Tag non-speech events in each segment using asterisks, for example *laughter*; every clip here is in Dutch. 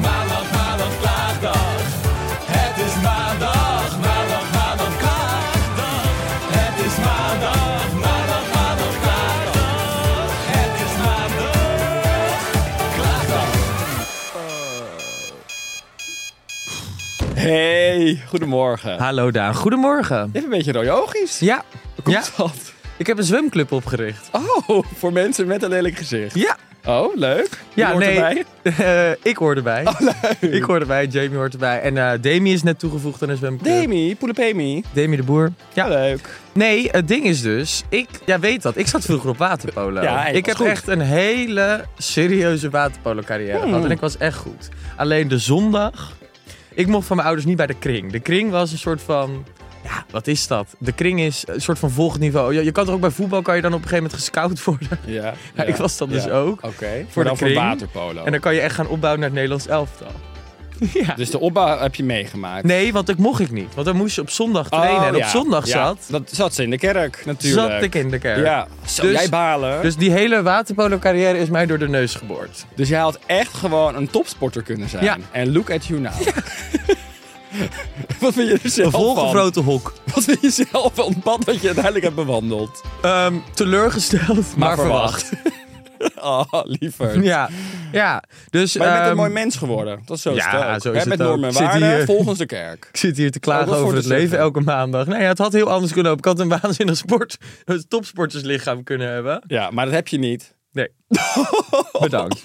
maandag, maandag, klaagdag. Het is maandag, maandag, maandag, klaagdag. Het is maandag, maandag, maandag, klaagdag. Het is maandag, klaagdag. Hey, goedemorgen. Hallo Daan, goedemorgen. Even een beetje rode oogjes. Ja, Hoe ja. komt dat? ik heb een zwemclub opgericht. Oh, voor mensen met een lelijk gezicht. Ja, Oh, leuk. Wie ja hoort erbij? Oh, Eh, ik hoor erbij. Ik hoor erbij, Jamie hoort erbij. En eh Demi is net toegevoegd aan de zwemclub. Demi, Poelepemi. Demi de Boer. Ja, Ja. leuk. Nee, het ding is dus, ik ja, weet dat. Ik zat vroeger op waterpolo. Ja, hij was ik heb goed. echt een hele serieuze waterpolo carrière Hmm. gehad. En ik was echt goed. Alleen de zondag, ik mocht van mijn ouders niet bij de kring. De kring was een soort van... Ja, wat is dat? De kring is een soort van volgend niveau. Je, je kan toch ook bij voetbal kan je dan op een gegeven moment gescout worden? Ja, Ja, ik was dat dus ook. Oké, Voor voor de dan voor kring. waterpolo. En dan kan je echt gaan opbouwen naar het Nederlands elftal. Ja. Dus de opbouw heb je meegemaakt. Nee, want dat mocht ik niet. Want dan moest je op zondag Oh, trainen. en op ja, zondag ja. zat, Dat zat ze in de kerk, natuurlijk. zat ik in de kerk. Ja, zo Dus- jij balen. Dus, Dus die hele waterpolo-carrière is mij door de neus geboord. jij had echt gewoon een topsporter kunnen zijn. Ja. En look at you *laughs* now. *laughs* Wat vind je er zelf van? Volgegrote hok. Wat vind je zelf van het pad dat je uiteindelijk hebt bewandeld? Ehm, teleurgesteld, maar, verwacht. *laughs* oh, liever. Ja, ja. Dus, Maar je bent een ehm, mooi mens geworden. Dat is zo ja, is het ook. zo is Hè, het Met ook. normen en Ik zit waarden hier- volgens de kerk. Ik zit hier te Oh, klagen dat over wordt het te leven zeggen. elke maandag. Nee, het had heel anders kunnen lopen. Ik had een *laughs* waanzinnig sport, een topsporterslichaam kunnen hebben. Ja, maar dat heb je niet. Nee. *laughs* *laughs* Bedankt.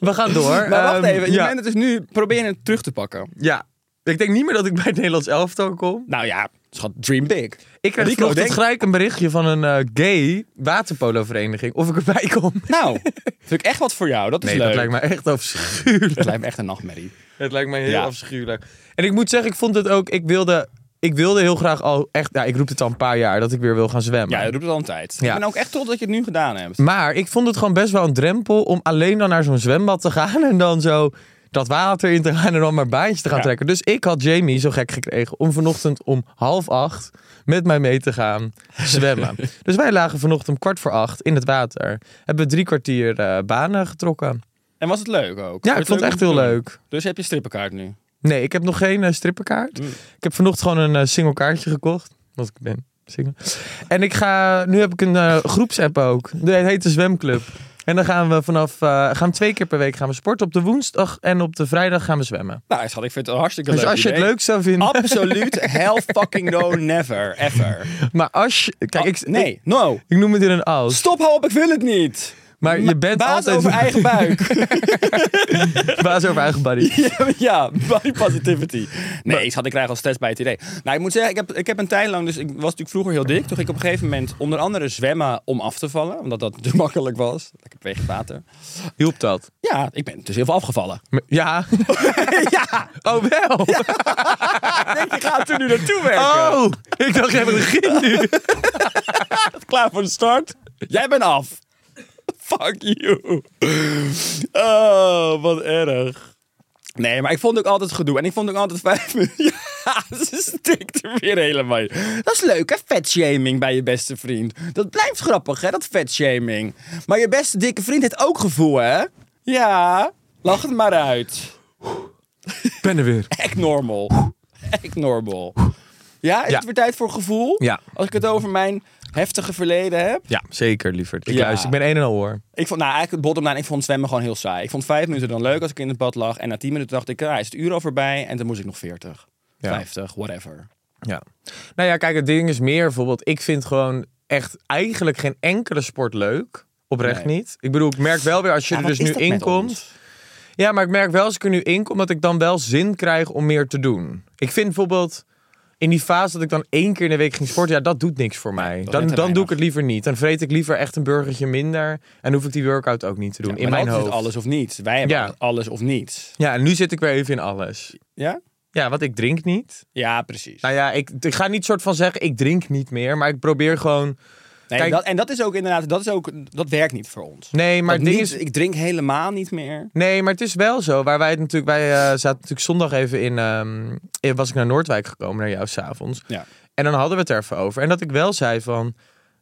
We gaan door. Maar wacht Ehm, even, je ja. bent het dus nu proberen het terug te pakken. Ja. Ik denk niet meer dat ik bij het Nederlands elftal kom. Nou ja, schat, dream big. Ik krijg Rico, vanochtend denk- gelijk een berichtje van een eh, gay waterpolo-vereniging. Of ik erbij kom. Nou, vind ik echt wat voor jou. Dat is Nee, leuk. dat lijkt me echt afschuwelijk. Dat lijkt me echt een nachtmerrie. Het lijkt mij heel Ja. afschuwelijk. En ik moet zeggen, ik vond het ook... Ik wilde, ik wilde heel graag al echt... Ja, ik roep het al een paar jaar dat ik weer wil gaan zwemmen. Ja, je doet het al een tijd. Ja. Mm. Ik ben ook echt trots dat je het nu gedaan hebt. Maar ik vond het gewoon best wel een drempel om alleen dan naar zo'n zwembad te gaan. En dan zo dat water in te gaan en dan maar baantjes te gaan Ja. trekken. Dus ik had Jamie zo gek gekregen om vanochtend om half acht met mij mee te gaan *laughs* zwemmen. dus wij lagen vanochtend om kwart voor acht in het water. Hebben we drie kwartier eh, banen getrokken. En was het leuk ook? Ja, ik vond het echt om te heel doen? leuk. Dus heb je strippenkaart nu? Nee, ik heb nog geen eh, strippenkaart. Mm. Ik heb vanochtend gewoon een eh, single kaartje gekocht. Want ik ben single. En ik ga, nu heb ik een eh, groepsapp ook. De- Het heet de Zwemclub. En dan gaan we vanaf, eh, gaan we twee keer per week gaan we sporten. Op de woensdag en op de vrijdag gaan we zwemmen. Nou, schat, ik vind het een hartstikke Dus leuk als je het idee. leuk zou vinden. Absoluut, hell fucking no, never, ever. Maar als je, kijk, ik, nee, ik, no. ik noem het in een als. Stop, hou op, ik wil het niet. Maar je bent Baas altijd over eigen buik. *laughs* baas over eigen body. ja, ja, body positivity. Nee, schat, ik krijg al stress bij het idee. Nou, ik moet zeggen, ik heb, ik heb een tijd lang, dus ik was natuurlijk vroeger heel dik. Toen ging ik op een gegeven moment onder andere zwemmen om af te vallen. Omdat dat te *laughs* makkelijk was. Lekker weeg water. Hielp dat? Ja, ik ben dus heel veel afgevallen. Ja. *laughs* ja, Oh wel. denk je gaat er nu naartoe werken. Oh, ik dacht even begin nu. klaar voor de start. Jij bent af. *laughs* Fuck you. Oh, wat erg. Nee, maar ik vond ook altijd gedoe. En ik vond ook altijd *laughs* vijf minuten. Ja, ze stikt er weer helemaal in. Dat is leuk, hè? Vetshaming bij je beste vriend. Dat blijft grappig, hè? Dat vetshaming. Maar je beste dikke vriend heeft ook gevoel, hè? Ja, lach het maar uit. Ik ben er weer. Act normal. Act normal. Ja, is Ja. het weer tijd voor gevoel? Ja. Als ik het over mijn heftige verleden heb. Ja, zeker, lieverd. Ik Ja. luister, ik ben een en al hoor. Ik vond, nou, eigenlijk het bottom line, ik vond zwemmen gewoon heel saai. Ik vond vijf minuten dan leuk als ik in het bad lag. En na tien minuten dacht ik, ah, is het uur al voorbij? En dan moest ik nog veertig, Ja. vijftig, whatever. Ja. Nou ja, kijk, het ding is meer bijvoorbeeld. Ik vind gewoon echt eigenlijk geen enkele sport leuk. Oprecht Nee. niet. Ik bedoel, ik merk wel weer als je Ja, er wat dus is nu dat met in komt. ons? Ja, maar ik merk wel als ik er nu in kom dat ik dan wel zin krijg om meer te doen. Ik vind bijvoorbeeld in die fase dat ik dan één keer in de week ging sporten, ja, dat doet niks voor mij. dat Dan, net te dan doe ik weinig. het liever niet. Dan vreet ik liever echt een burgertje minder en hoef ik die workout ook niet te doen Ja, in maar mijn altijd is hoofd. het alles of niets. Wij hebben Ja. alles of niets. Ja, en nu zit ik weer even in alles. Ja? Ja, want ik drink niet. Ja, precies. Nou ja, ik, ik ga niet soort van zeggen ik drink niet meer, maar ik probeer gewoon Nee, kijk- dat, en dat is ook inderdaad, dat, is ook, dat werkt niet voor ons. Nee, maar Dat het ding niet- is- Ik drink helemaal niet meer. Nee, maar het is wel zo. Waar wij het natuurlijk, wij eh, zaten natuurlijk zondag even in, ehm, in- Was ik naar Noordwijk gekomen, naar jou s'avonds. Ja. En dan hadden we het er even over. En dat ik wel zei van.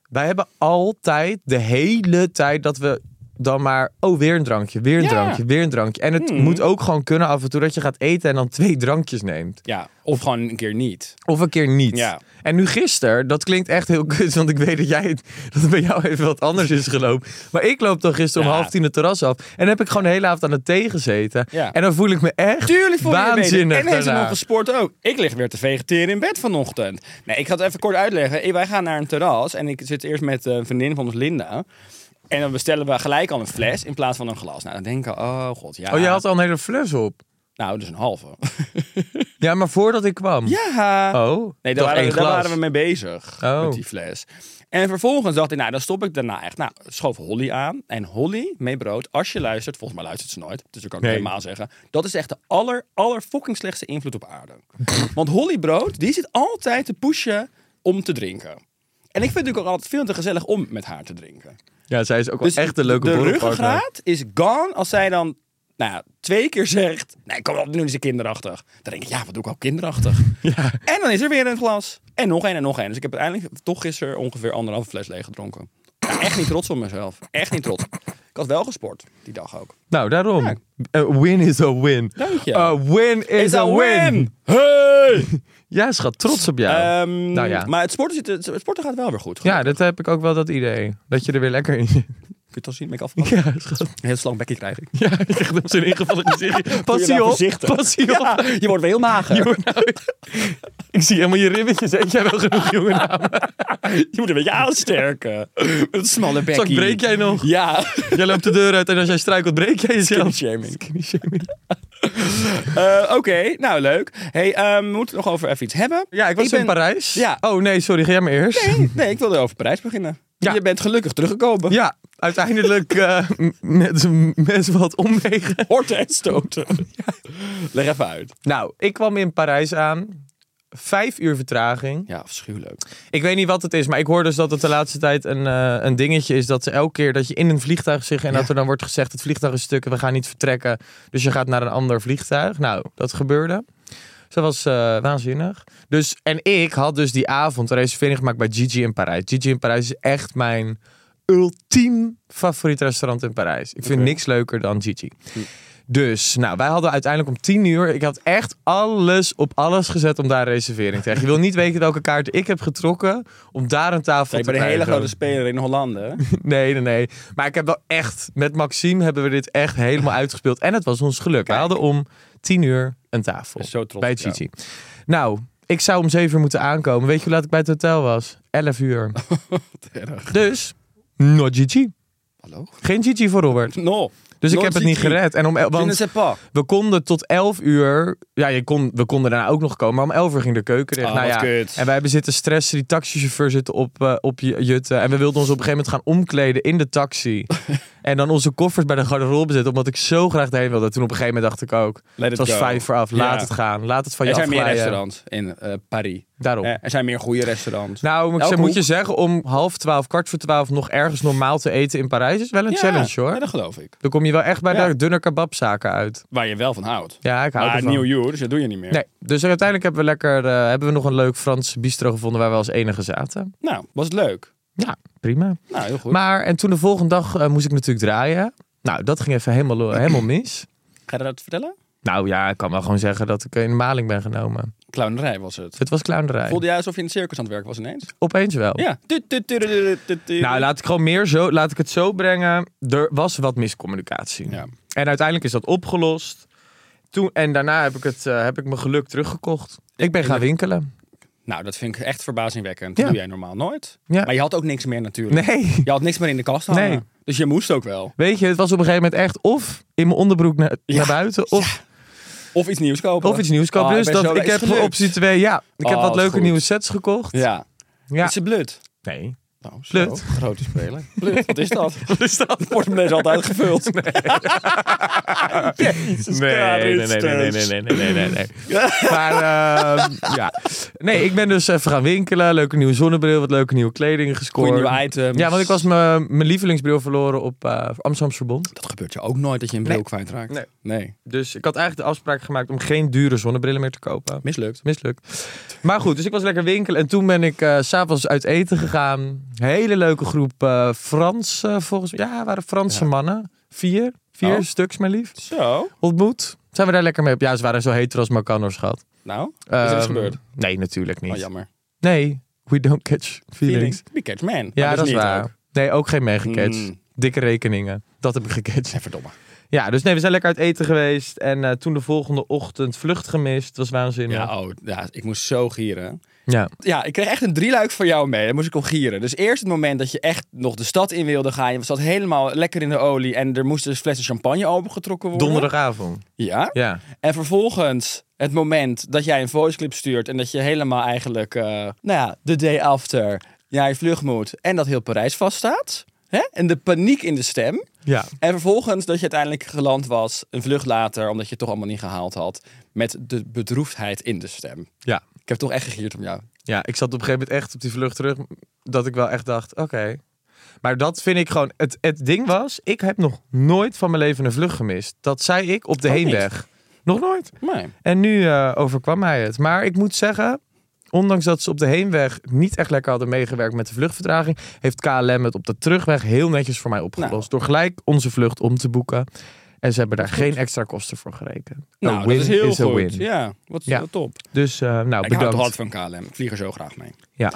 Wij hebben altijd, de hele tijd, dat we dan maar. Oh, weer een drankje, weer een Ja. Hmm. drankje, weer een drankje. En het moet ook gewoon kunnen af en toe dat je gaat eten en dan twee drankjes neemt. Ja, of gewoon een keer niet. Of een keer niet. Ja. En nu gisteren, dat klinkt echt heel kut, want ik weet dat, jij het, dat het bij jou even wat anders is gelopen. Maar ik loop dan gisteren om Ja. half tien het terras af en dan heb ik gewoon de hele avond aan het thee gezeten. Ja. En dan voel ik me echt Tuurlijk voel je je beter. waanzinnig En heeft hij nog daarna. gesport ook. Ik lig weer te vegeteren in bed vanochtend. Nee, ik ga het even kort uitleggen. Eh, Wij gaan naar een terras en ik zit eerst met eh, een vriendin van ons, Linda. En dan bestellen we gelijk al een fles in plaats van een glas. Nou, dan denk ik, oh god, ja. Oh, jij had al een hele fles op. Nou, dus een halve. Ja, maar voordat ik kwam. ja. Oh, Nee, daar toch waren, één we- daar glas. waren we mee bezig, Oh. met die fles. En vervolgens dacht ik, nou, dan stop ik daarna echt. Nou, schoof Holly aan. En Holly, mee brood, als je luistert, volgens mij luistert ze nooit, dus ik kan het Nee. helemaal zeggen. Dat is echt de aller, aller fucking slechtste invloed op aarde. *laughs* Want Holly brood, die zit altijd te pushen om te drinken. En ik vind het natuurlijk ook altijd veel te gezellig om met haar te drinken. Ja, zij is ook wel echt een leuke Dus De borrelpartner. ruggengraat is gone als zij dan nou, ja, twee keer zegt... Nee, kom op, nu is ze kinderachtig. Dan denk ik, ja, wat doe ik al *laughs* kinderachtig? En dan is er weer een glas. En nog één en nog één. Dus ik heb uiteindelijk toch gisteren ongeveer anderhalve fles leeg gedronken. Ja, echt niet trots op mezelf. Echt niet trots. Ik had wel gesport, die dag ook. Nou, daarom. Ja. A win is a win. Dank je. A win is, a win. Hey! Ja, schat, trots op jou. Ehm, nou ja. Maar het sporten, zit, het sporten gaat wel weer goed. ja, dat heb ik ook wel dat idee. Dat je er weer lekker in zit. *laughs* Kun je het al zien? Ben ik afgevallen? Ja, schat. Een heel slank bekje krijg ik. Ja, ik krijg op zijn ingevallen *laughs* gezichtje. Doe je nou Passie op, voorzichtig. passie op. Ja, je wordt weer heel mager. Je wordt nou- ik zie helemaal je ribbetjes. Eet jij wel genoeg, jongen? namen? Je moet een beetje aansterken. Met een smalle bekkie. Zak, breek jij nog? Ja. Jij loopt de deur uit en als jij struikelt, breek jij Skinny jezelf. shaming. shaming. Eh, Oké, nou leuk. Hey, ehm, we moeten het nog over even iets hebben. Ja, ik was in ben- Parijs. Ja. Oh nee, sorry, ga jij maar eerst. Nee, nee, ik wilde over Parijs beginnen. Ja. Je bent gelukkig teruggekomen. *laughs* Ja, uiteindelijk eh, m- met, met wat omwegen. Horten en stoten. Leg even uit. Nou, ik kwam in Parijs aan. Vijf uur vertraging. Ja, afschuwelijk. Ik weet niet wat het is, maar ik hoor dus dat het de laatste tijd een, eh, een dingetje is dat ze elke keer dat je in een vliegtuig zit en dat er dan wordt gezegd: het vliegtuig is stuk en we gaan niet vertrekken. Dus je gaat naar een ander vliegtuig. Nou, dat gebeurde. Dus dat was eh, waanzinnig. Dus, en ik had dus die avond een reservering gemaakt bij Gigi in Parijs. Gigi in Parijs is echt mijn ultiem favoriet restaurant in Parijs. Ik vind niks leuker dan Gigi. Hm. Dus, nou, wij hadden uiteindelijk om 10 uur. Ik had echt alles op alles gezet om daar een reservering te krijgen. Je wil niet weten welke kaart ik heb getrokken om daar een tafel Ik te ben een hele krijgen. grote speler in Hollande. *laughs* hè? *laughs* Nee, nee, nee. Maar ik heb wel echt, met Maxime hebben we dit echt *laughs* helemaal uitgespeeld. En het was ons geluk. We hadden om tien uur een tafel. Zo trots Bij op jou. Gigi. Nou, ik zou om zeven uur moeten aankomen. Weet je hoe laat ik bij het hotel was? Elf *laughs* uur. dus, no Gigi. Hallo? Geen Gigi voor Robert. No. Dus ik heb het niet gered. En om el- Want... want we konden tot 11 uur. Ja, je kon, we konden daarna ook nog komen. Maar om 11 uur ging de keuken dicht. Ah, nou wat ja, kut. En wij hebben zitten stressen. Die taxichauffeur zit op, eh, op je- jutten. En we wilden ons op een gegeven moment gaan omkleden in de taxi. *laughs* en dan onze koffers bij de garderobe zetten. Omdat ik zo graag daarheen wilde. Toen op een gegeven moment dacht ik ook. Let het it was go. vijf voor af. Laat Ja. het gaan. Laat het van je Er zijn meer afglijden. restaurants in eh, Parijs. Daarom. Eh, er zijn meer goede restaurants. Nou, moet ik Elke zeggen, moet je hoek. zeggen, om half twaalf, kwart voor twaalf nog ergens normaal te eten in Parijs is wel een Ja, challenge hoor. ja, dat geloof ik. Dan kom je wel echt bij Ja. de dunne kebabzaken uit. Waar je wel van houdt. Ja, ik hou maar ervan. nieuw jaar, dus dat doe je niet meer. Nee, dus uiteindelijk hebben we lekker eh, hebben we nog een leuk Frans bistro gevonden waar we als enige zaten. Nou, was het leuk. Ja, prima. Nou, heel goed. Maar en toen de volgende dag eh, moest ik natuurlijk draaien. Nou, dat ging even helemaal, helemaal mis. Ga je dat vertellen? Nou ja, ik kan wel gewoon zeggen dat ik in de maling ben genomen. Dus Clownerij was het. Het was clownerij. Voelde jij alsof je in het circus aan het werk was ineens? Opeens wel. Ja. Tut, tut, tut, tut, tut, tut. Oh. Nou, laat ik gewoon meer zo, laat ik het zo brengen. Er was wat miscommunicatie. Ja. En uiteindelijk is dat opgelost. Toen, en daarna heb ik, het, eh, heb ik mijn geluk teruggekocht. Ik ben gaan winkelen. Nou, dat vind ik echt verbazingwekkend. Dat Ja. doe jij normaal nooit. Ja. Maar je had ook niks meer natuurlijk. Nee. Je had niks meer in de kast hangen. Nee. Dus je moest ook wel. Weet je, het was op een gegeven moment echt of in mijn onderbroek naar, Ja. naar buiten of, Of iets nieuws kopen. of iets nieuws kopen. Ah, dus ik ben dat, zo- ik is heb voor gelukt. optie 2, ja. Ik heb Oh, wat wat leuke goed. nieuwe sets gekocht. Ja. Ja. Het is een blut. Nee. Nou, zo. Blut. Grote speler. Blut, wat is dat? *laughs* wat is dat? *laughs* De portemonnee is altijd gevuld. *laughs* Jezus Nee, nee, nee, Christus. nee, nee, nee, nee, nee, nee, nee. Maar ehm, ja. Nee, ik ben dus even gaan winkelen. Leuke nieuwe zonnebril, wat leuke nieuwe kleding gescoord. Goeie nieuwe items. Ja, want ik was mijn mijn lievelingsbril verloren op eh Amsterdamse Verbond. Dat gebeurt je ook nooit dat je een bril Nee. kwijtraakt. Nee. nee. Dus ik had eigenlijk de afspraak gemaakt om geen dure zonnebrillen meer te kopen. Mislukt. Mislukt. Maar goed, dus ik was lekker winkelen. En toen ben ik eh, s s'avonds uit eten gegaan. Hele leuke groep eh Franse, volgens mij. Ja, waren Franse mannen. Vier. Vier Oh. stuks, mijn lief. Zo. Ontmoet. Zijn we daar lekker mee op? Ja, ze waren zo heter als maar kan hoor, schat. Nou, is er Ehm, iets gebeurd? Nee, natuurlijk niet. Oh, jammer. nee, we don't catch feelings. Feelings. We catch man. Maar Ja, dus dat is niet waar. ook. Nee, ook geen meegecatcht. Mm. Dikke rekeningen. Dat heb ik gecatcht. En verdomme. Ja, dus nee, we zijn lekker uit eten geweest. En eh, toen de volgende ochtend vlucht gemist. Dat was waanzinnig. Ja, oh, ja, ik moest zo gieren. ja. Ja, ik kreeg echt een drieluik van jou mee. Daar moest ik om gieren. Dus eerst het moment dat je echt nog de stad in wilde gaan. Je zat helemaal lekker in de olie. En er moesten flessen champagne opengetrokken worden. Donderdagavond. Ja. Ja. En vervolgens het moment dat jij een voiceclip stuurt. En dat je helemaal eigenlijk, eh, nou ja, de day after. Ja, je vlucht moet. En dat heel Parijs vaststaat. Hè? En de paniek in de stem. Ja. En vervolgens dat je uiteindelijk geland was, een vlucht later, omdat je het toch allemaal niet gehaald had, met de bedroefdheid in de stem. Ja. Ik heb toch echt gegierd om jou. Ja, ik zat op een gegeven moment echt op die vlucht terug. Dat ik wel echt dacht, oké. Maar dat vind ik gewoon... Het, het ding was, ik heb nog nooit van mijn leven een vlucht gemist. Dat zei ik op de Ook niet. heenweg. Nog nooit. Nee. En nu eh, overkwam mij het. Maar ik moet zeggen, ondanks dat ze op de heenweg niet echt lekker hadden meegewerkt met de vluchtvertraging, heeft KLM het op de terugweg heel netjes voor mij opgelost. Nou. Door gelijk onze vlucht om te boeken. En ze hebben daar geen extra kosten voor gerekend. A Nou, win dat is heel is a goed. win. Ja, wat Ja. wat top. Dus eh, nou, ik hou bedankt. toch altijd van KLM. Ik vlieg er zo graag mee. Ja.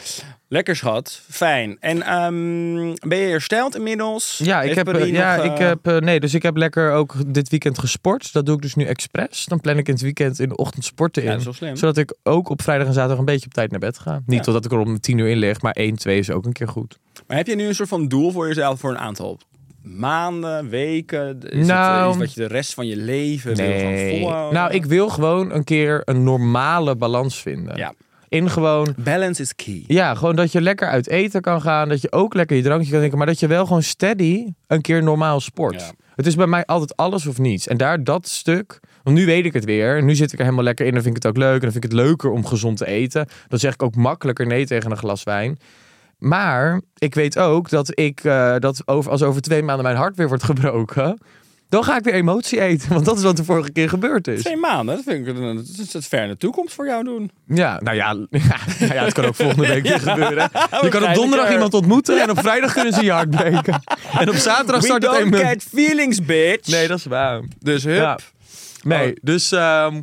Lekker schat. Fijn. En ehm, ben je hersteld inmiddels? Ja, ik Heeft heb, eh, Paris ja nog, eh, ik heb, eh, nee, dus ik heb lekker ook dit weekend gesport. Dat doe ik dus nu expres. Dan plan ik in het weekend in de ochtend sporten in. Ja, dat is wel slim. Zodat ik ook op vrijdag en zaterdag een beetje op tijd naar bed ga. Niet Ja. totdat ik er om tien uur in lig, maar 1, 2 is ook een keer goed. Maar heb je nu een soort van doel voor jezelf voor een aantal maanden, weken? Is het Nou. eh, iets wat je de rest van je leven wil gaan volhouden? Nou, ik wil gewoon een keer een normale balans vinden. Ja. In gewoon... Balance is key. Ja, gewoon dat je lekker uit eten kan gaan. Dat je ook lekker je drankje kan drinken. Maar dat je wel gewoon steady een keer normaal sport. Ja. Het is bij mij altijd alles of niets. En daar dat stuk... Want nu weet ik het weer. En nu zit ik er helemaal lekker in. En vind ik het ook leuk. En dan vind ik het leuker om gezond te eten. Dan zeg ik ook makkelijker nee tegen een glas wijn. Maar ik weet ook dat ik... eh, dat over, als over twee maanden mijn hart weer wordt gebroken... Dan ga ik weer emotie eten. Want dat is wat de vorige keer gebeurd is. Twee maanden, dat vind ik een- dat is het ver in de toekomst voor jou doen. Ja, nou ja, *laughs* ja, nou *laughs* ja, Oh, het kan ook volgende week weer gebeuren. Je kan op waarschijnlijk donderdag er. iemand ontmoeten en op vrijdag kunnen ze je hart *laughs* breken. En op zaterdag We start het don't een- get feelings, bitch. Nee, dat is waar. Dus hup. Ja. Nee, Oh. dus ehm,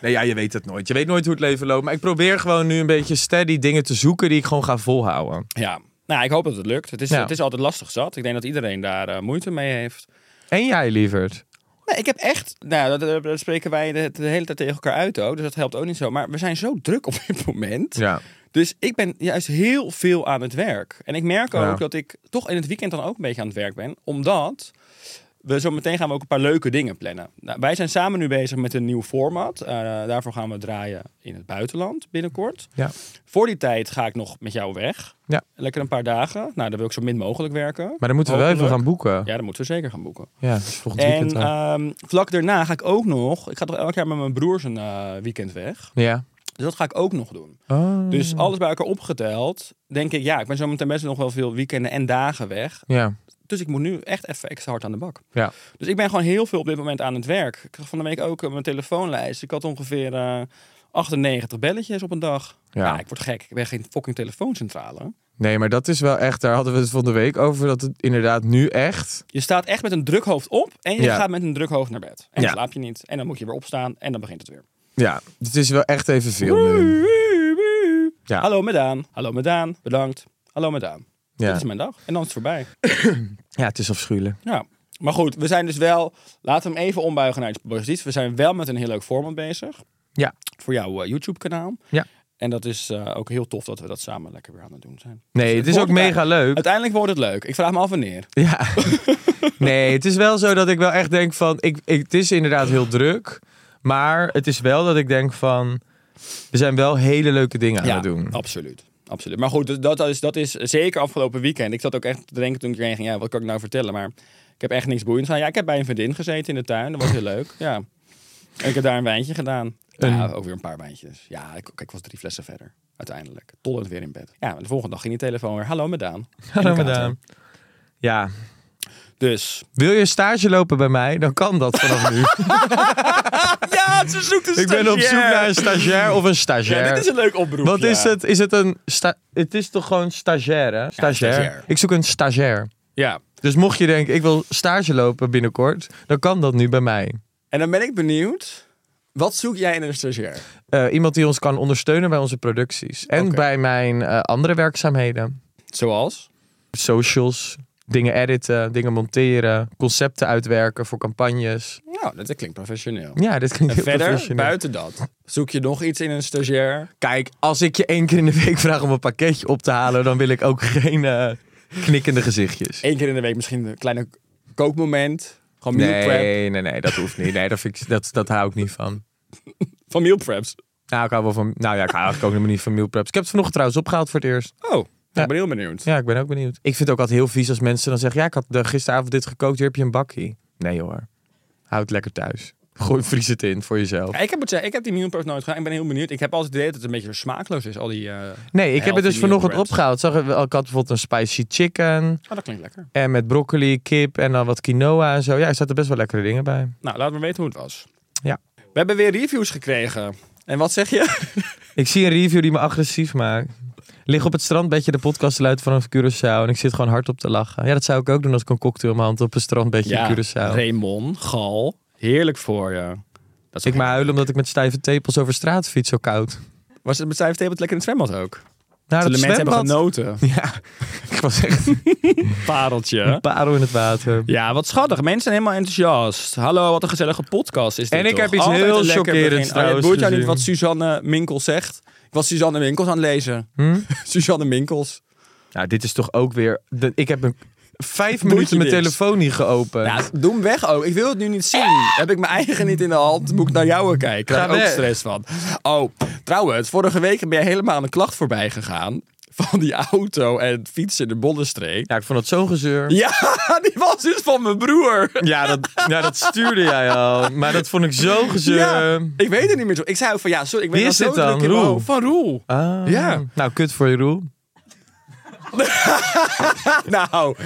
nee, ja, je weet het nooit. Je weet nooit hoe het leven loopt. Maar ik probeer gewoon nu een beetje steady dingen te zoeken die ik gewoon ga volhouden. Ja. Nou, ik hoop dat het lukt. Het is, Ja. het is altijd lastig zat. Ik denk dat iedereen daar eh, moeite mee heeft. En jij, lieverd? Nee, ik heb echt... Nou, dat, dat- dat spreken wij de, de hele tijd tegen elkaar uit ook. Dus dat helpt ook niet zo. Maar we zijn zo druk op *laughs* dit moment. Ja. Dus ik ben juist heel veel aan het werk. En ik merk ook Ja. dat ik toch in het weekend dan ook een beetje aan het werk ben. Omdat we zo meteen gaan we ook een paar leuke dingen plannen. Nou, wij zijn samen nu bezig met een nieuw format. Eh, daarvoor gaan we draaien in het buitenland binnenkort. Ja. Voor die tijd ga ik nog met jou weg. Ja. Lekker een paar dagen. Nou, dan wil ik zo min mogelijk werken. Maar dan moeten we wel even Hopelijk. gaan boeken. Ja, Ja, dat moeten we zeker gaan boeken. dat is volgend En weekend dan. ehm, vlak daarna ga ik ook nog... Ik ga toch elk jaar met mijn broers een eh, weekend weg. ja. Dus dat ga ik ook nog doen. Oh. Dus alles bij elkaar opgeteld, denk ik, ja, ik ben zometeen best nog wel veel weekenden en dagen weg. Ja. Dus ik moet nu echt even extra hard aan de bak. Ja. Dus ik ben gewoon heel veel op dit moment aan het werk. Ik kreeg van de week ook eh, mijn telefoonlijst. Ik had ongeveer eh, 98 belletjes op een dag. Ja. Ja. ik word gek. Ik ben geen fucking telefooncentrale. Nee, maar dat is wel echt. Daar hadden we het van de week over. Dat het inderdaad nu echt. Je staat echt met een druk hoofd op en je Ja. gaat met een druk hoofd naar bed. En dan Ja. slaap je niet. En dan moet je weer opstaan en dan begint het weer. Ja, het is wel echt even veel nu. Ja. Hallo met Daan. Hallo met Daan. Bedankt. Hallo met Daan. Dit Ja, is mijn dag. En dan is het voorbij. ja het is afschuwelijk. Ja. Maar goed, we zijn dus wel... Laten we hem even ombuigen naar iets positiefs. We zijn wel met een heel leuk format bezig. Ja. Voor jouw eh, YouTube-kanaal. Ja. En dat is eh, ook heel tof dat we dat samen lekker weer aan het doen zijn. Nee, het is hoort ook mega leuk. Uiteindelijk wordt het leuk. Ik vraag me af wanneer. *laughs* Ja. Nee, het is wel zo dat ik wel echt denk van... Ik, ik, het is inderdaad heel druk. Maar het is wel dat ik denk van... We zijn wel hele leuke dingen aan het doen. *laughs* absoluut. Absoluut. Maar goed, dat dat is, dat is zeker afgelopen weekend. Ik zat ook echt te denken toen ik erheen ging, ja, wat kan ik nou vertellen? Maar ik heb echt niks boeiends aan. Ja, ik heb bij een vriendin gezeten in de tuin. Dat was heel leuk. Ja. En ik heb daar een wijntje gedaan. Ja, ook weer een paar wijntjes. Ja, ik, kijk, ik was drie flessen verder. Uiteindelijk. Tollend weer in bed. Ja, en de volgende dag ging die telefoon weer. Hallo, Medaan. Hallo madame. Ja. Dus. Wil je stage lopen bij mij? Dan kan dat *laughs* vanaf nu. Ja, ze zoekt *laughs* een ik ben op zoek naar een stagiair of een stagiair. dit is een leuk oproep. Wat ja. is het? Is het een... sta- het is toch gewoon stagiair, hè? Stagiair. stagiair. Ik zoek een stagiair. Ja. Dus mocht je denken, ik wil stage lopen binnenkort, dan kan dat nu bij mij. En dan ben ik benieuwd. Wat zoek jij in een stagiair? Eh, iemand die ons kan ondersteunen bij onze producties. En Oké. bij mijn eh, andere werkzaamheden. Zoals? Socials, dingen editen, dingen monteren, concepten uitwerken voor campagnes. Nou, dat klinkt professioneel. Ja, dit En klinkt heel *laughs* verder, professioneel. buiten dat, zoek je nog iets in een stagiair? Kijk, als ik je één keer in de week vraag om een pakketje op te halen, dan wil ik ook *laughs* geen eh, knikkende gezichtjes. Eén keer in de week misschien een kleine kookmoment. Gewoon meal prep. Nee, nee, nee, dat hoeft niet. Nee, dat, vind ik, dat, dat hou ik niet van. Van meal preps. Nou, Nou, ik hou wel van. Nou ja, ik hou eigenlijk ook helemaal niet van meal preps. Ik heb het vanochtend trouwens opgehaald voor het eerst. Oh, ik Ja. ben heel benieuwd. Ja, ik ben ook benieuwd. Ik vind het ook altijd heel vies als mensen dan zeggen... ja, ik had eh, gisteravond dit gekookt, hier heb je een bakkie. Nee hoor, houd het lekker thuis. Gooi vries het in voor jezelf. Ja, Ik, heb het, zeggen, ik heb die meal preps nooit gedaan. Ik ben heel benieuwd. Ik heb altijd het idee dat het een beetje smaakloos is, al die... eh, Nee, ik heb het healthy dus vanochtend meal preps. opgehaald. Zag, je wel, ik had bijvoorbeeld een spicy chicken... Oh, dat klinkt lekker. en met broccoli, kip en dan wat quinoa en zo. Ja, er zaten best wel lekkere dingen bij. Nou, laat me weten hoe het was. Ja. We hebben weer reviews gekregen. En wat zeg je? Ik zie een review die me agressief maakt. Lig op het strandbedje de podcast luidt vanaf Curaçao... en ik zit gewoon hardop te lachen. Ja, dat zou ik ook doen als ik een cocktail in mijn hand op een strandbedje in Curaçao. Raymond, Gal, heerlijk voor je. Dat is Ik maar huilen omdat ik met stijve tepels over straat fiets, zo koud. Was het met cijfertablet lekker in het zwembad ook? Nou, Zullen dat mensen hebben zwembad- genoten. *laughs* Ja, ik was echt Pareltje. *laughs* een parel in het water. Ja, wat schattig. Mensen zijn helemaal enthousiast. Hallo, wat een gezellige podcast is dit En ik toch? heb iets Altijd heel een lekker chockerends begin. Oh, ja, trouwens Het boeit jou niet gezien. wat Suzanne Minkels zegt. Ik was Suzanne Minkels aan het lezen. *laughs* Suzanne Minkels. Nou, dit is toch ook weer... de- ik heb een, vijf je minuten mijn niks. telefoon niet geopend. Ja, doe hem weg ook. Ik wil het nu niet zien. Heb ik mijn eigen niet in de hand, moet ik naar jou kijken. Daar Ga heb ik ook weg. stress van. Oh, trouwens, vorige week ben je helemaal aan de klacht voorbij gegaan. Van die auto en fietsen in de Bollenstreek. Ja, ik vond het zo'n gezeur. Ja, *laughs* die was dus van mijn broer. Ja dat, ja, dat stuurde jij al. Maar dat vond ik zo'n gezeur. Ja, ik weet het niet meer zo. Ik zei ook van ja, sorry, ik ben Wie al is zo dit druk dan? in mijn Roel? hoofd. Van Roel. Ah. Ja. Nou, kut voor je roel. *laughs* Nou,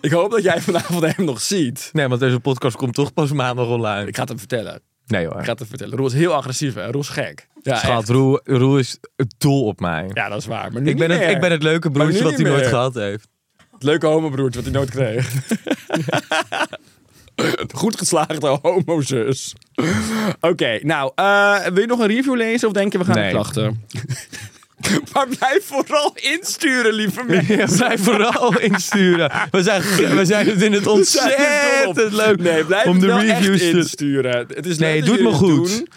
ik hoop dat jij vanavond hem nog ziet. Nee, want deze podcast komt toch pas maandag online. Ik ga het hem vertellen. Nee Ik hoor. ga het hem vertellen. Roel is heel agressief, hè? Roel is gek. Ja, Schat, echt. roel, roel is het dol op mij. Ja, dat is waar. Maar nu ik, ben niet het, meer. ik ben het leuke broertje nu wat niet hij nooit meer. gehad heeft. Het leuke homobroertje wat hij nooit *laughs* kreeg. Goed geslaagde homozus. Oké, nou, eh, wil je nog een review lezen of denk je we gaan Nee. naar klachten? *laughs* maar blijf vooral insturen, lieve mensen. *laughs* *laughs* Ja, blijf vooral insturen. We zijn, *laughs* we zijn het in het *laughs* ontzettend leuk Nee, blijf om de wel reviews echt te... insturen. Het is leuk Nee, dat het doet jullie me het goed. doen.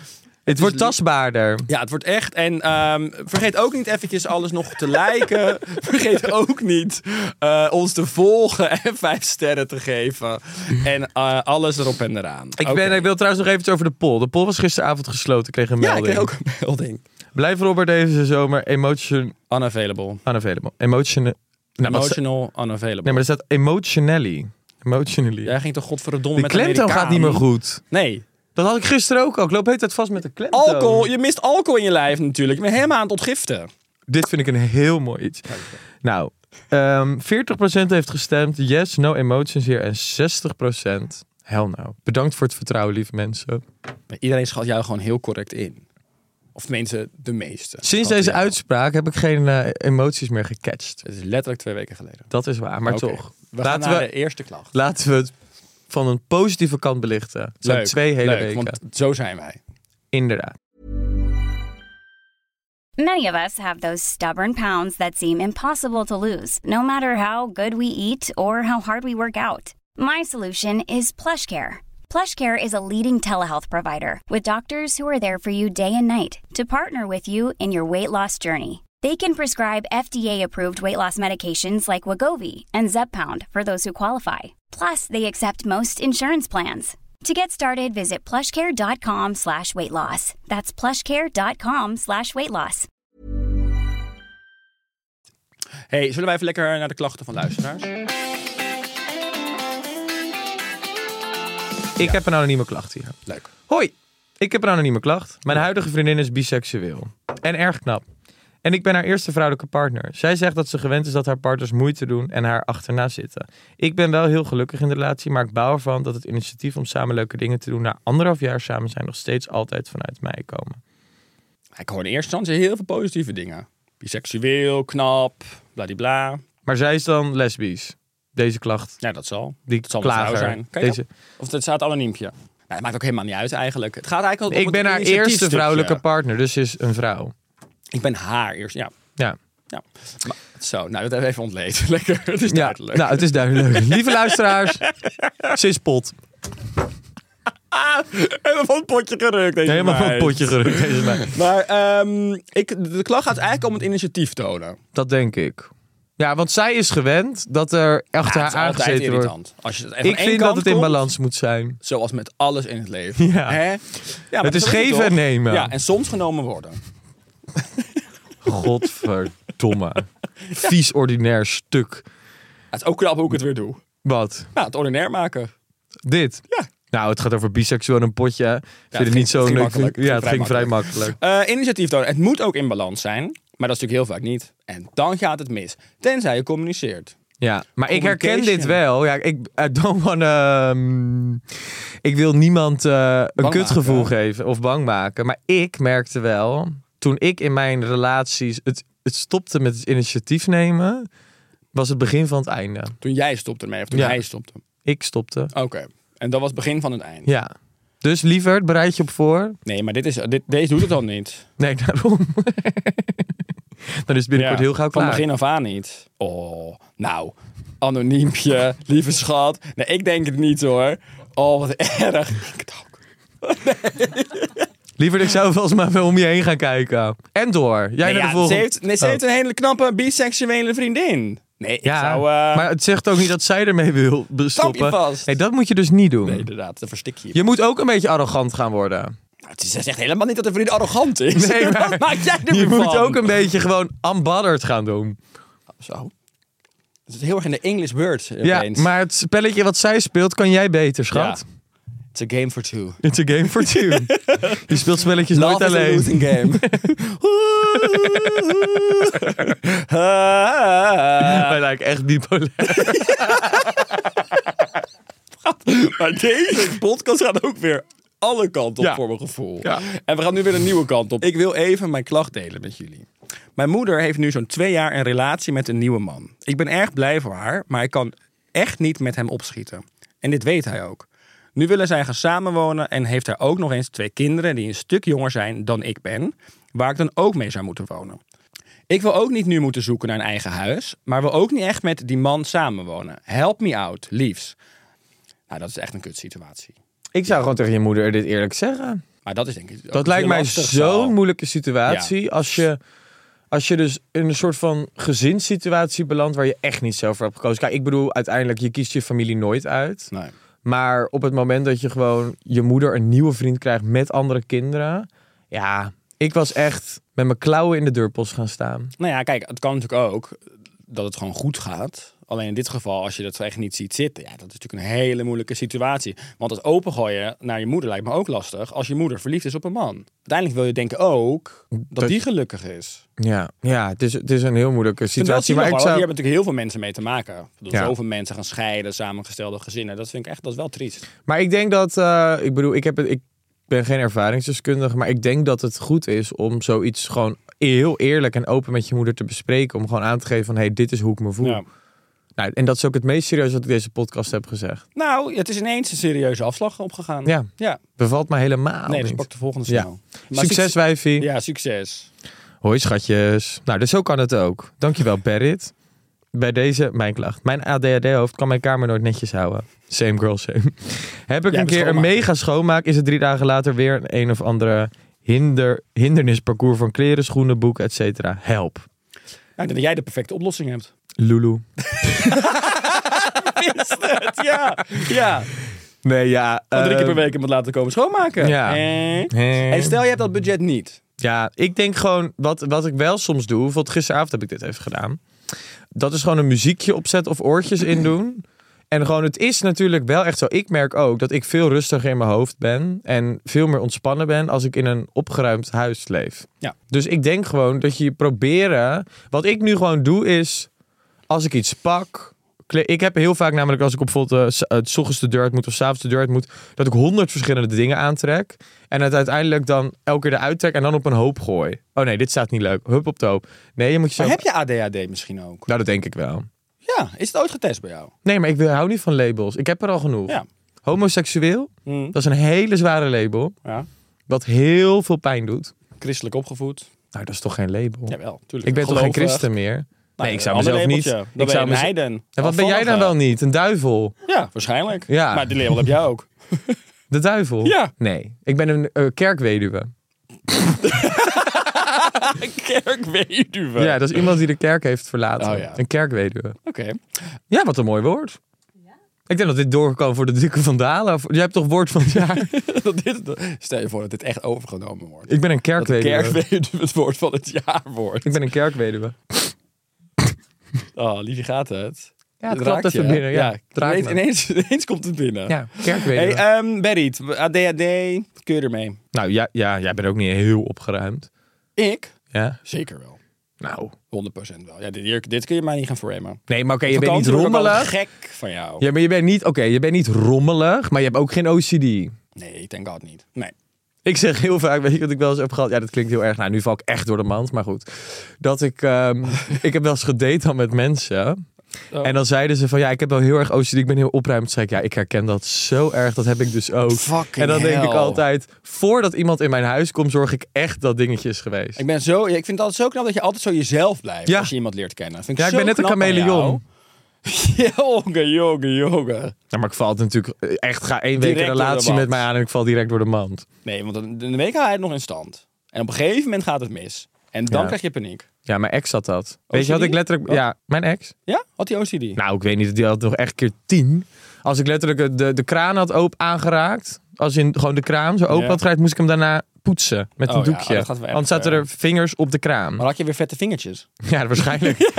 Het wordt tastbaarder. Ja, het wordt echt. En ehm, vergeet ook niet eventjes alles nog te liken. *laughs* Vergeet ook niet eh, ons te volgen en *laughs* vijf sterren te geven. En eh, alles erop en eraan. Ik, ben, ik wil trouwens nog even over de poll. De poll was gisteravond gesloten. Ik kreeg een Ja, ik melding. kreeg ook een melding. Blijf Robert deze zomer emotion... ah, Unavailable. Unavailable. Emotion... Nou, wat sta- Emotional unavailable. Nou, nee, maar er staat emotionally. Emotionally. Jij ging toch godverdomme de met klemtoon Amerikaan? gaat niet meer goed. Nee. Dat had ik gisteren ook al. Ik loop heet het vast met de klemtoon. Alcohol. Je mist alcohol in je lijf natuurlijk. Je bent helemaal aan het ontgiften. Dit vind ik een heel mooi iets. Nou, ehm 40% heeft gestemd yes, no emotions hier. En 60% hell no. Bedankt voor het vertrouwen, lieve mensen. Maar iedereen schat jou gewoon heel correct in. Of tenminste, de meeste. Dat Sinds deze in ieder geval. uitspraak heb ik geen eh, emoties meer gecatcht. Het is letterlijk twee weken geleden. Dat is waar, maar Oké. toch. We gaan laten, naar we, de eerste klacht. laten we het van een positieve kant belichten. Het zijn Leuk, twee hele leuk, weken. Want zo zijn wij. Inderdaad. Many of us have those stubborn pounds that seem impossible to lose, no matter how good we eat or how hard we work out. My solution is PlushCare. PlushCare is a leading telehealth provider with doctors who are there for you day and night to partner with you in your weight loss journey. They can prescribe FDA-approved weight loss medications like Wagovi and Zepbound for those who qualify. Plus, they accept most insurance plans. To get started, visit plushcare.com slash weight loss. That's plushcare.com slash weight loss. Hey, zullen wij even lekker naar de klachten van luisteraars? Ik heb een anonieme klacht hier. Leuk. Hoi, ik heb een anonieme klacht. Mijn huidige vriendin is biseksueel. En erg knap. En ik ben haar eerste vrouwelijke partner. Zij zegt dat ze gewend is dat haar partners moeite doen en haar achterna zitten. Ik ben wel heel gelukkig in de relatie, maar ik bouw ervan dat het initiatief om samen leuke dingen te doen na anderhalf jaar samen zijn nog steeds altijd vanuit mij komen. Ik hoor in eerste instantie heel veel positieve dingen. Biseksueel, knap, bladibla. Maar zij is dan lesbisch. Deze klacht. Ja, dat zal. Die dat zal een klager. vrouw zijn. Kan je Deze- dat- Of het staat anoniempje. Nou, het maakt ook helemaal niet uit eigenlijk. Het gaat eigenlijk ook om Ik ben het haar eerste initiatiefstukje. vrouwelijke partner, dus ze is een vrouw. Ik ben haar eerst. Ja. Ja. ja. Maar- zo, nou dat hebben we even ontleed. *laughs* Lekker, het is Ja, duidelijk. nou, het is *laughs* duidelijk. Lieve luisteraars, ze is pot. Helemaal van het potje gerukt deze Helemaal van het meid. potje gerukt. Deze meid. Maar ehm, ik, de klacht gaat eigenlijk om het initiatief tonen. Dat denk ik. Ja, want zij is gewend dat er achter Ja, het is haar altijd aangezeten wordt. irritant. Als je het Ik vind dat het in balans. balans moet zijn. Zoals met alles in het leven. *laughs* Ja. Hè? Ja, maar Het is zo het geven en toch? nemen. Ja, en soms genomen worden. *laughs* Godverdomme. Vies ordinair stuk. Het is ook knap hoe ik het weer doe. Wat? Nou, het ordinair maken. Dit? Ja. Nou, het gaat over biseksueel en een potje. hè? Ik vind ging- het niet zo het ging leuk. makkelijk. Ja, Het het ging ging vrij vrij makkelijk. Eh, initiatief tonen. Het moet ook in balans zijn. Maar dat is natuurlijk heel vaak niet. En dan gaat het mis. Tenzij je communiceert. Ja, maar ik herken dit Communication. wel. Ja, ik I don't wanna, ehm, ik wil niemand eh, een Bang kutgevoel maken. geven of bang maken. Maar ik merkte wel, toen ik in mijn relaties het, het stopte met het initiatief nemen, was het begin van het einde. Toen jij stopte ermee. Of toen Ja. hij stopte. Oké. Ik stopte. En dat was het begin van het eind. Ja. Dus liever, bereid je op voor. Nee, maar dit is, dit, deze doet het dan *laughs* niet. Nee, daarom. Dan is het binnenkort Ja, heel gauw Van klaar. begin af aan niet. Oh, nou. Anoniempje, lieve schat. Nee, ik denk het niet hoor. Oh, wat erg. Ik denk het ook. Liever, ik zou volgens mij wel om je heen gaan kijken. En door. Jij Nee, naar ja, de volgende. Ze, heeft, nee, ze Oh. heeft een hele knappe biseksuele vriendin. Nee, ik Ja, zou... eh, maar het zegt ook niet dat zij ermee *laughs* wil stoppen. vast. Nee, dat moet je dus niet doen. Nee, inderdaad, dan verstik je. je. Je moet ook een beetje arrogant gaan worden. Nou, het is- ze zegt helemaal niet dat de vriend arrogant is. Nee, *laughs* maar- Wat maak jij er Je weer moet van? ook een beetje gewoon unbothered gaan doen. Zo. Het is heel erg in de English word Ja, opeens. maar het spelletje wat zij speelt, kan jij beter, schat. It's a game for two. It's a game for two. *laughs* je speelt spelletjes nooit Love is a alleen. losing game. *laughs* *laughs* Wij lijken echt bipolair. maar deze podcast gaat ook weer alle kanten op Ja. voor mijn gevoel. Ja. En we gaan nu weer een nieuwe kant op. Ik wil even mijn klacht delen met jullie. Mijn moeder heeft nu zo'n twee jaar een relatie met een nieuwe man. Ik ben erg blij voor haar, maar ik kan echt niet met hem opschieten. En dit weet hij ook. Nu willen zij gaan samenwonen en heeft hij ook nog eens twee kinderen die een stuk jonger zijn dan ik ben, waar ik dan ook mee zou moeten wonen. Ik wil ook niet nu moeten zoeken naar een eigen huis, maar wil ook niet echt met die man samenwonen. Help me out, liefs. Nou, dat is echt een kutsituatie. Ik zou gewoon tegen je moeder dit eerlijk zeggen. Maar dat is denk ik. ook Dat lijkt heel mij lastig zo'n zal. moeilijke situatie. Als, je, als je dus in een soort van gezinssituatie belandt waar je echt niet zelf voor hebt gekozen. Kijk, ik bedoel, uiteindelijk, je kiest je familie nooit uit. Nee. Maar op het moment dat je gewoon je moeder een nieuwe vriend krijgt met andere kinderen. Ja, ik was echt met mijn klauwen in de deurpost gaan staan. Nou ja, kijk, het kan natuurlijk ook dat het gewoon goed gaat. Alleen in dit geval, als je dat echt niet ziet zitten, ja, dat is natuurlijk een hele moeilijke situatie. Want het opengooien naar je moeder lijkt me ook lastig als je moeder verliefd is op een man. Uiteindelijk wil je denken ook dat die gelukkig is. Ja, ja het, is, het is een heel moeilijke situatie. Situatie, Maar maar ik Hier zou, hebben natuurlijk heel veel mensen mee te maken. Ik bedoel, Ja. Zoveel mensen gaan scheiden, samengestelde gezinnen. Dat vind ik echt, dat is wel triest. maar ik denk dat, eh, ik bedoel, ik heb het. Ik, ben geen ervaringsdeskundige, maar ik denk dat het goed is om zoiets gewoon heel eerlijk en open met je moeder te bespreken. Om gewoon aan te geven van, hé, hey, dit is hoe ik me voel. Ja. Nou, en dat is ook het meest serieus wat ik deze podcast heb gezegd. Nou, het is ineens een serieuze afslag opgegaan. Ja. ja. Bevalt mij helemaal Nee, dus niet. pak de volgende Ja. snel. Maar Succes, wijfie. Ja, succes. Hoi, schatjes. Nou, dus zo kan het ook. Dankjewel, *laughs* Berit. Bij deze mijn klacht. Mijn ADHD-hoofd kan mijn kamer nooit netjes houden. Same girl, same. *laughs* Heb Jij ik een bent keer een schoonmaker. mega schoonmaak, is het drie dagen later weer een, een of andere hinder, hindernisparcours van kleren, schoenen, boeken, et cetera. Help. Nou, ik denk dat jij de perfecte oplossing hebt. Lulu. ja, ja. *laughs* Nee, ja. Gewoon drie eh, keer per week moet laten komen schoonmaken. Ja. Eh. eh. En stel, je hebt dat budget niet. Ja, ik denk gewoon, wat, wat ik wel soms doe, bijvoorbeeld gisteravond heb ik dit even gedaan. Dat is gewoon een muziekje opzetten of oortjes *clears throat* in doen. En gewoon, het is natuurlijk wel echt zo. Ik merk ook dat ik veel rustiger in mijn hoofd ben. En veel meer ontspannen ben als ik in een opgeruimd huis leef. Ja. Dus ik denk gewoon dat je proberen. Wat ik nu gewoon doe is. Als ik iets pak. kle- Ik heb heel vaak namelijk als ik op bijvoorbeeld eh, s- eh, 's ochtends de deur uit moet of 's avonds de deur uit moet. Dat ik honderd verschillende dingen aantrek. En het uiteindelijk dan elke keer eruit trek en dan op een hoop gooi. Oh nee, dit staat niet leuk. Hup op de hoop. Nee, je moet Maar jezelf... heb je ADHD misschien ook? Nou, dat denk ik wel. Ja, is het ooit getest bij jou? Nee, maar ik wil- hou niet van labels. Ik heb er al genoeg. Ja. Homoseksueel, Mm. dat is een hele zware label. Ja. Wat heel veel pijn doet. Christelijk opgevoed? Nou, dat is toch geen label? Jawel, tuurlijk. ik ben toch geen Gelovig. Nou, christen meer? nee, ik zou een ander mezelf niet... labeltje. Dan ik ben zou je een mez- heiden. eh. En wat ben jij dan wel niet? Een duivel? Ja, waarschijnlijk. Ja. Maar die label heb jij *laughs* ook. De duivel? Ja. Nee, ik ben een eh, kerkweduwe. Kerkweduwe. Ja, dat is iemand die de kerk heeft verlaten. Oh ja. Een kerkweduwe. Oké. Ja, wat een mooi woord. Ik denk dat dit doorgekomen voor de dikke van Dalen. Jij hebt toch woord van het jaar? *laughs* Dat dit- Stel je voor dat dit echt overgenomen wordt. ik ben een Dat de kerkweduwe. kerkweduwe het woord van het jaar wordt. Ik ben een kerkweduwe. Oh, liefje gaat het. Ja, het Raakt klapt je, even hè? binnen. Ja, het raakt ineens, me. ineens, *laughs* ineens komt het binnen. Ja, kerkweduwe. Hey, ehm Berit, ADHD, kun je ermee? nou ja, ja, jij bent ook niet heel opgeruimd. Ik? Ja. Zeker wel. Nou. 100% wel. Ja, dit, hier- dit kun je mij niet gaan framen. Nee, maar oké, je bent niet Vakantie word ik al rommelig. gek van jou. Ja, maar je bent niet, oké, je bent niet rommelig, maar je hebt ook geen OCD. Nee, ik denk dat niet. Nee. Ik zeg heel vaak, weet je wat ik wel eens heb gehad? Ja, dat klinkt heel erg. Nou, nu val ik echt door de mand, maar goed. Dat *laughs* ik, ehm, ik heb wel eens gedate dan met mensen. Oh. En dan zeiden ze van, ja, ik heb wel heel erg OCD, ik ben heel opruimd. Zeg ik, ja, ik herken dat zo erg, dat heb ik dus ook. Fucking en dan denk ik hell. altijd, voordat iemand in mijn huis komt, zorg ik echt dat dingetje is geweest. Ik, ben zo, ik vind het altijd zo knap dat je altijd zo jezelf blijft Ja. als je iemand leert kennen. Dat Vind ik ja, ik zo ben net een knap aan chameleon. *laughs* jou. jongen, jongen, jongen. Nou, maar ik val het natuurlijk eh, echt, ga één week Direct een door de relatie mand. met mij aan en ik val direct door de mand. Nee, want dan- in de week haal je het nog in stand. En op een gegeven moment gaat het mis. En dan Ja. krijg je paniek. Ja, mijn ex had dat. Weet je, had OCD? ik letterlijk... Wat? Ja, mijn ex. Ja? Had die OCD? Nou, ik weet niet, die had nog echt keer tien. Als ik letterlijk eh, de, de kraan had open aangeraakt, als in gewoon de kraan zo open Ja. had geraakt, moest ik hem daarna poetsen met Oh een ja, doekje. dat gaat wel erg Want zaten ver. Oh. er vingers op de kraan. Maar had je weer vette vingertjes? *laughs* Ja, waarschijnlijk.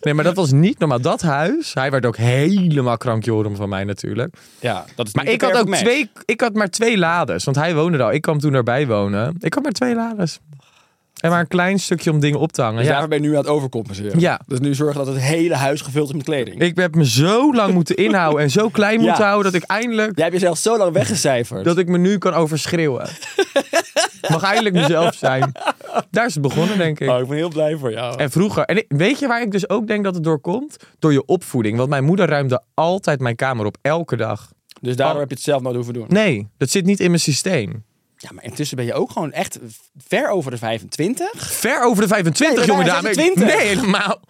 nee, maar dat was niet normaal. Dat huis, hij werd ook helemaal krankjorum van mij natuurlijk. Ja, dat is Maar niet ik de had ook perfect match. twee, ik had maar twee lades, want hij woonde er al. Ik kwam toen daarbij wonen. Ik had maar twee lades. En maar een klein stukje om dingen op te hangen. Dus Ja, daarvoor ben je nu aan het overcompenseren. Ja. Dus nu zorgen dat het hele huis gevuld is met kleding. ik heb me zo lang moeten inhouden en zo *laughs* klein moeten houden dat ik eindelijk Jij hebt jezelf zo lang weggecijferd. Dat ik me nu kan *laughs* overschreeuwen. Mag eindelijk mezelf zijn. Daar is het begonnen, denk ik. Oh, ik ben heel blij voor jou. En vroeger. En ik- weet je waar ik dus ook denk dat het door komt? Door je opvoeding. Want mijn moeder ruimde altijd mijn kamer op, elke dag. Dus daarom Oh. heb je het zelf nooit hoeven doen. Nee, dat zit niet in mijn systeem. Ja, maar intussen ben je ook gewoon echt ver over de 25. Ver over de 25, Nee, jongen bijna dame. 26. Nee, helemaal.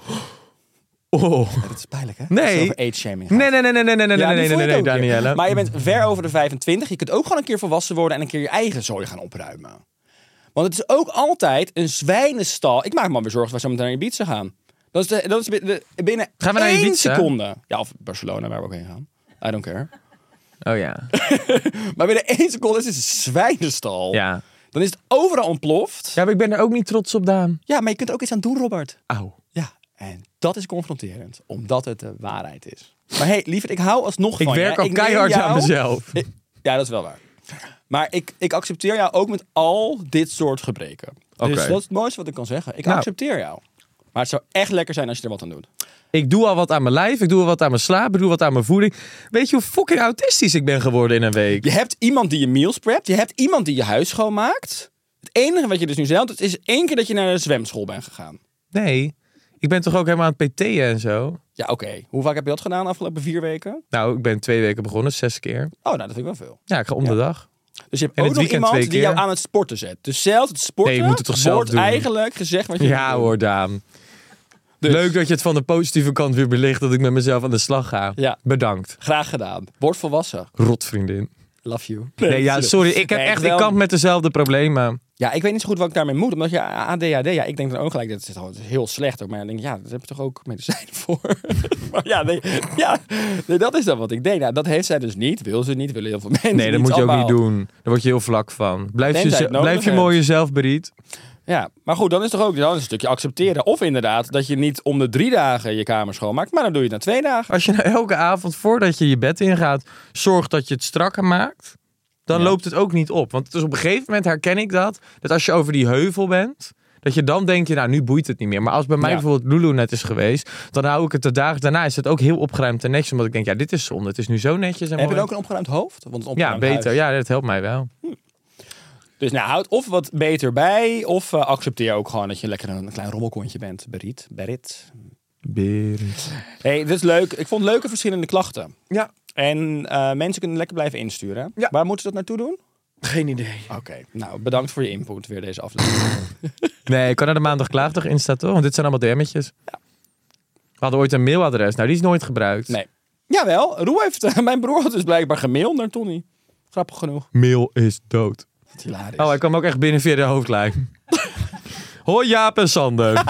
Oh. Dat is pijnlijk, hè? Nee. Als het over age shaming Nee, nee, nee, nee, nee, nee, nee, nee, nee, nee, nee, Danielle. Maar je bent ver over de 25. Je kunt ook gewoon een keer volwassen worden en een keer je eigen zooi gaan opruimen. Want het is ook altijd een zwijnenstal. Ik maak me alweer zorgen dat wij zo meteen naar Ibiza gaan. Dat is, de, dat is bi- de- binnen Gaan we naar één Ibiza? seconde. Ja, of Barcelona, waar we ook heen gaan. I don't care. Oh ja. Maar binnen één seconde is het een zwijnenstal. Ja. Dan is het overal ontploft. Ja, maar ik ben er ook niet trots op, Daan. Ja, maar je kunt er ook iets aan doen, Robert. Auw. Ja, en dat is confronterend, omdat het de waarheid is. Maar hey, lieverd, ik hou alsnog Ik van je. werk al neem keihard jou- aan mezelf. Ik- Ja, dat is wel waar. Maar ik, ik accepteer jou ook met al dit soort gebreken. Oké. Dus dat is het mooiste wat ik kan zeggen. Ik Nou. accepteer jou. Maar het zou echt lekker zijn als je er wat aan doet. Ik doe al wat aan mijn lijf, ik doe al wat aan mijn slaap, ik doe wat aan mijn voeding. Weet je hoe fucking autistisch ik ben geworden in een week? Je hebt iemand die je meals prept. Je hebt iemand die je huis schoonmaakt. Het enige wat je dus nu zelf doet, is één keer dat je naar de zwemschool bent gegaan. Nee, ik ben toch ook helemaal aan het PT'en en zo? Ja, oké. Hoe vaak heb je dat gedaan de afgelopen vier weken? Nou, ik ben twee weken begonnen, zes keer. Oh, nou, dat vind ik wel veel. Ja, ik ga om de dag. Dus je hebt En ook het nog weekend iemand twee die jou keer. aan het sporten zet. Dus zelfs het sporten Nee, je moet het toch zelf wordt doen. eigenlijk gezegd wat je moet Ja doen. hoor, Daan. Dus- Leuk dat je het van de positieve kant weer belicht dat ik met mezelf aan de slag ga. Ja. Bedankt, Graag gedaan. Word volwassen. rotvriendin. Love you. Nee, ja, sorry, ik heb Nee, echt, ik wel- kamp met dezelfde problemen. Ja, ik weet niet zo goed wat ik daarmee moet. Omdat je ADHD, ja, ik denk dan ook gelijk, dat is, dat is heel slecht. Hoor. Maar dan denk ik, ja, daar heb je toch ook medicijnen voor? *laughs* maar ja, nee, ja nee, dat is dan wat ik denk. Nou, dat heeft zij dus niet. Wil ze niet, willen heel veel *laughs* mensen Nee, dat niet moet je ook niet allemaal. doen. Daar word je heel vlak van. Blijf, Tenzij je, het nodig blijf je hebt. mooi jezelf, Beriet. Ja, maar goed, dan is toch ook dan is het een stukje accepteren. Of inderdaad, dat je niet om de drie dagen je kamer schoonmaakt, maar dan doe je het na twee dagen. Als je nou elke avond voordat je je bed ingaat, zorgt dat je het strakker maakt, dan loopt het ook niet op. Want het is op een gegeven moment herken ik dat, dat als je over die heuvel bent, dat je dan denk je, nou nu boeit het niet meer. Maar als bij mij Ja. bijvoorbeeld Lulu net is geweest, dan hou ik het de dagen daarna, is het ook heel opgeruimd en netjes. Omdat ik denk, ja dit is zonde, het is nu zo netjes Heb en je mooi. dan ook een opgeruimd hoofd? Want een Ja, opgeruimd beter. huis- Ja, dat helpt mij wel. Dus nou, houd of wat beter bij, of eh, accepteer ook gewoon dat je lekker een klein rommelkontje bent. Berit, Berit. hey, dit is leuk. Ik vond leuke verschillende klachten. Ja, En eh, mensen kunnen lekker blijven insturen. Ja. Waar moeten ze dat naartoe doen? geen idee. Oké, nou bedankt voor je input weer deze aflevering. Nee, ik kan naar de maandag klaagdag insta toch? Want dit zijn allemaal DM'tjes. We hadden ooit een mailadres. Nou, die is nooit gebruikt. nee. Jawel, Roe heeft, mijn broer had dus blijkbaar gemaild naar Tony. Grappig genoeg. Mail is dood. Wat hilarisch. Oh, hij kwam ook echt binnen via de hoofdlijn. *laughs* Hoi Jaap en Sander. *laughs*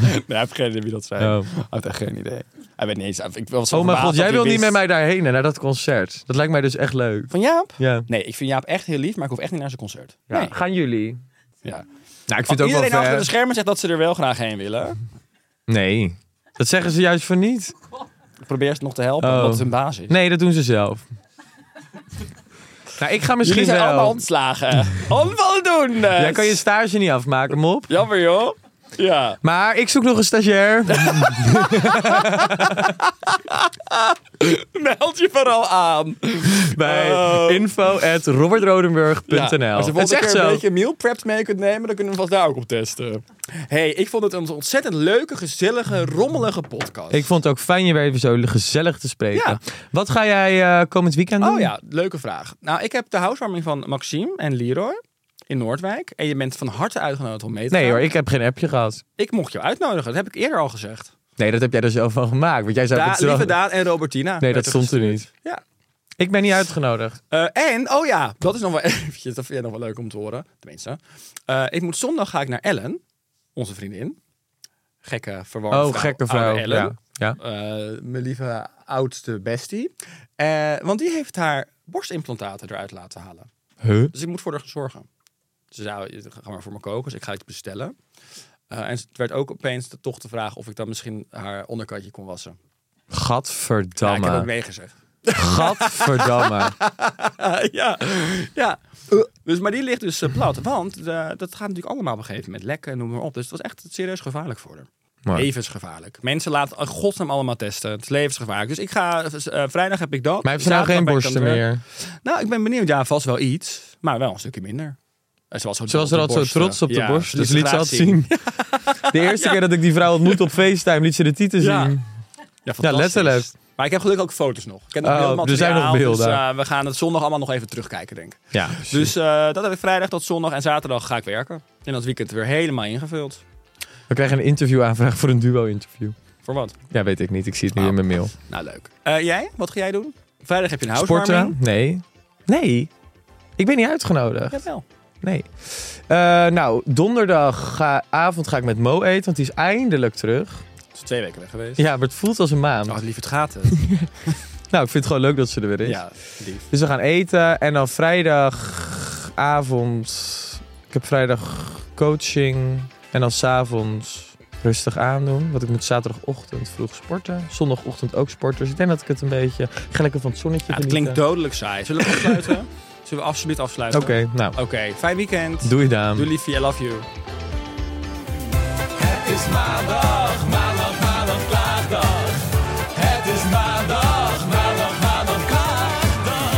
Nee, hij heeft geen idee wie dat zijn. Oh. Hij heeft echt geen idee. Hij weet niet eens. Ik was zo Oh mijn verbaasd god, dat jij hij wil niet wist. met mij daarheen hè, naar dat concert. Dat lijkt mij dus echt leuk. Van Jaap? Ja. Nee, ik vind Jaap echt heel lief, maar ik hoef echt niet naar zijn concert. Ja, Nee. Gaan jullie? Ja. Nou, ik vind Iedereen het ook wel achter ver. de schermen zegt dat ze er wel graag heen willen. Nee, dat zeggen ze juist voor niet. Ik probeer ze nog te helpen, Oh. omdat het hun baas is. Nee, dat doen ze *laughs* zelf. nou, ik ga misschien Jullie zijn wel. allemaal *laughs* ontslagen. Onvoldoende! Jij kan je stage niet afmaken, mop. Jammer joh. Ja. *laughs* Maar ik zoek nog een stagiair. Meld je vooral aan. bij Oh. info@robertrodenburg.nl. Ja, als je het is volgende echt keer een zo. beetje meal preps mee kunt nemen, dan kunnen we vast daar ook op testen. hey, ik vond het een ontzettend leuke, gezellige, rommelige podcast. Ik vond het ook fijn je weer even zo gezellig te spreken. Ja. Wat ga jij eh, komend weekend doen? Oh ja, leuke vraag. Nou, ik heb de housewarming van Maxime en Leroy in Noordwijk. En je bent van harte uitgenodigd om mee te Nee gaan. hoor, ik heb geen appje gehad. Ik mocht jou uitnodigen, dat heb ik eerder al gezegd. Nee, dat heb jij er zelf van gemaakt. Want jij zei Da- dat het wel- lieve Daan en Robertina. Nee, werd dat stond er niet. gestuurd. Ja. Ik ben niet uitgenodigd. Eh, en, oh ja, dat is nog wel *laughs* eventjes, dat vind jij nog wel leuk om te horen. Tenminste. Eh, ik moet zondag ga ik naar Ellen, onze vriendin. Gekke, verwarde Oh, vrouw, gekke oude vrouw. Ellen. Ja. ja. Eh, mijn lieve oudste bestie. Eh, want die heeft haar borstimplantaten eruit laten halen. Huh? Dus ik moet voor haar zorgen. Ze zei, ga maar voor me koken, dus ik ga iets bestellen. Eh, en het werd ook opeens de- toch de vraag of ik dan misschien haar onderkantje kon wassen. Ja, ik Gadverdamme. heb ook nee gezegd. *laughs* Gadverdamme. ja, ja. Dus, maar die ligt dus eh, plat, want eh, dat gaat natuurlijk allemaal op een gegeven moment lekken en noem maar op. Dus het was echt serieus gevaarlijk voor haar. Maar- Levensgevaarlijk. Mensen laten in godsnaam allemaal testen. Het is levensgevaarlijk. Dus ik ga, eh, vrijdag heb ik dat. Maar heeft ze nou Zaterdag geen ben ik aan borsten het werk. meer? Nou, ik ben benieuwd. Ja, vast wel iets. Maar wel een stukje minder. Eh, En Ze was, zo Ze was er op de altijd zo borsten. trots op de Ja, borst. Dus ze liet ze graag altijd zien. *laughs* De eerste keer dat ik die vrouw ontmoet op FaceTime, liet ze de titel Ja. zien. Ja, fantastisch. letterlijk. Maar ik heb gelukkig ook foto's nog. Ik heb nog Oh, beeldmateriaal, er zijn nog beelden. Dus eh, we gaan het zondag allemaal nog even terugkijken, denk ik. Ja. Dus eh, dat heb ik vrijdag tot zondag en zaterdag ga ik werken. En dat weekend weer helemaal ingevuld. We krijgen een interviewaanvraag voor een duo-interview. Voor wat? Ja, weet ik niet. Ik zie het nu in mijn mail. Nou, leuk. Eh, jij? Wat ga jij doen? Vrijdag heb je een housewarming. Nee. Nee. Ik ben niet uitgenodigd. Jawel. Nee. Eh, nou, donderdagavond ga ik met Mo eten, want die is eindelijk terug. Het is twee weken weg geweest. Ja, maar het voelt als een maan. Oh, lief, het gaat *laughs* hè. Nou, ik vind het gewoon leuk dat ze er weer is. ja, lief. Dus we gaan eten en dan vrijdagavond... Ik heb vrijdag coaching en dan s'avonds rustig aandoen. Want ik moet zaterdagochtend vroeg sporten. Zondagochtend ook sporten. Dus ik denk dat ik het een beetje... Ik ga lekker van het zonnetje Ja, het genieten. klinkt dodelijk saai. Zullen we *laughs* afsluiten? Zullen we absoluut afsluiten? Oké, nou. Oké, fijn weekend. Doei, Daan. Doei, liefie. I love you. Het Het is maandag, maandag, maandag, klaagdag. Het is maandag, maandag, maandag, klaagdag.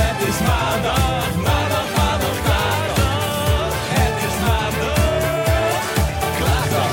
Het is maandag, maandag, maandag, klaagdag. Het is maandag, klaagdag.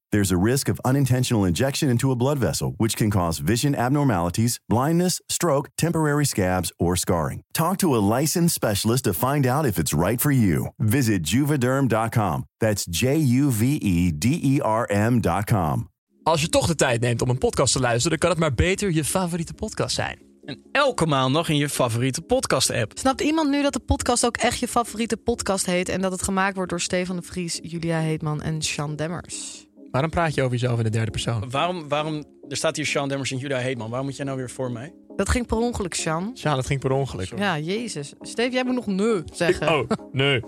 There's a risk of unintentional injection into a blood vessel, which can cause vision abnormalities, blindness, stroke, temporary scabs, or scarring. Talk to a licensed specialist to find out if it's right for you. Visit juvederm.com. That's J U V E D E R M.com. Als je toch de tijd neemt om een podcast te luisteren, dan kan het maar beter je favoriete podcast zijn. En elke maandag in je favoriete podcast-app. Snapt iemand nu dat de podcast ook echt je favoriete podcast heet en dat het gemaakt wordt door Stefan de Vries, Julia Heetman en Sean Demmers? Waarom praat je over jezelf in de derde persoon? Waarom, waarom, er staat hier Sean Demmers en Julia Heetman. Waarom moet jij nou weer voor mij? Dat ging per ongeluk, Sean. Ja, dat ging per ongeluk. Ja, jezus. Steef, jij moet nog nee zeggen. Oh, nee.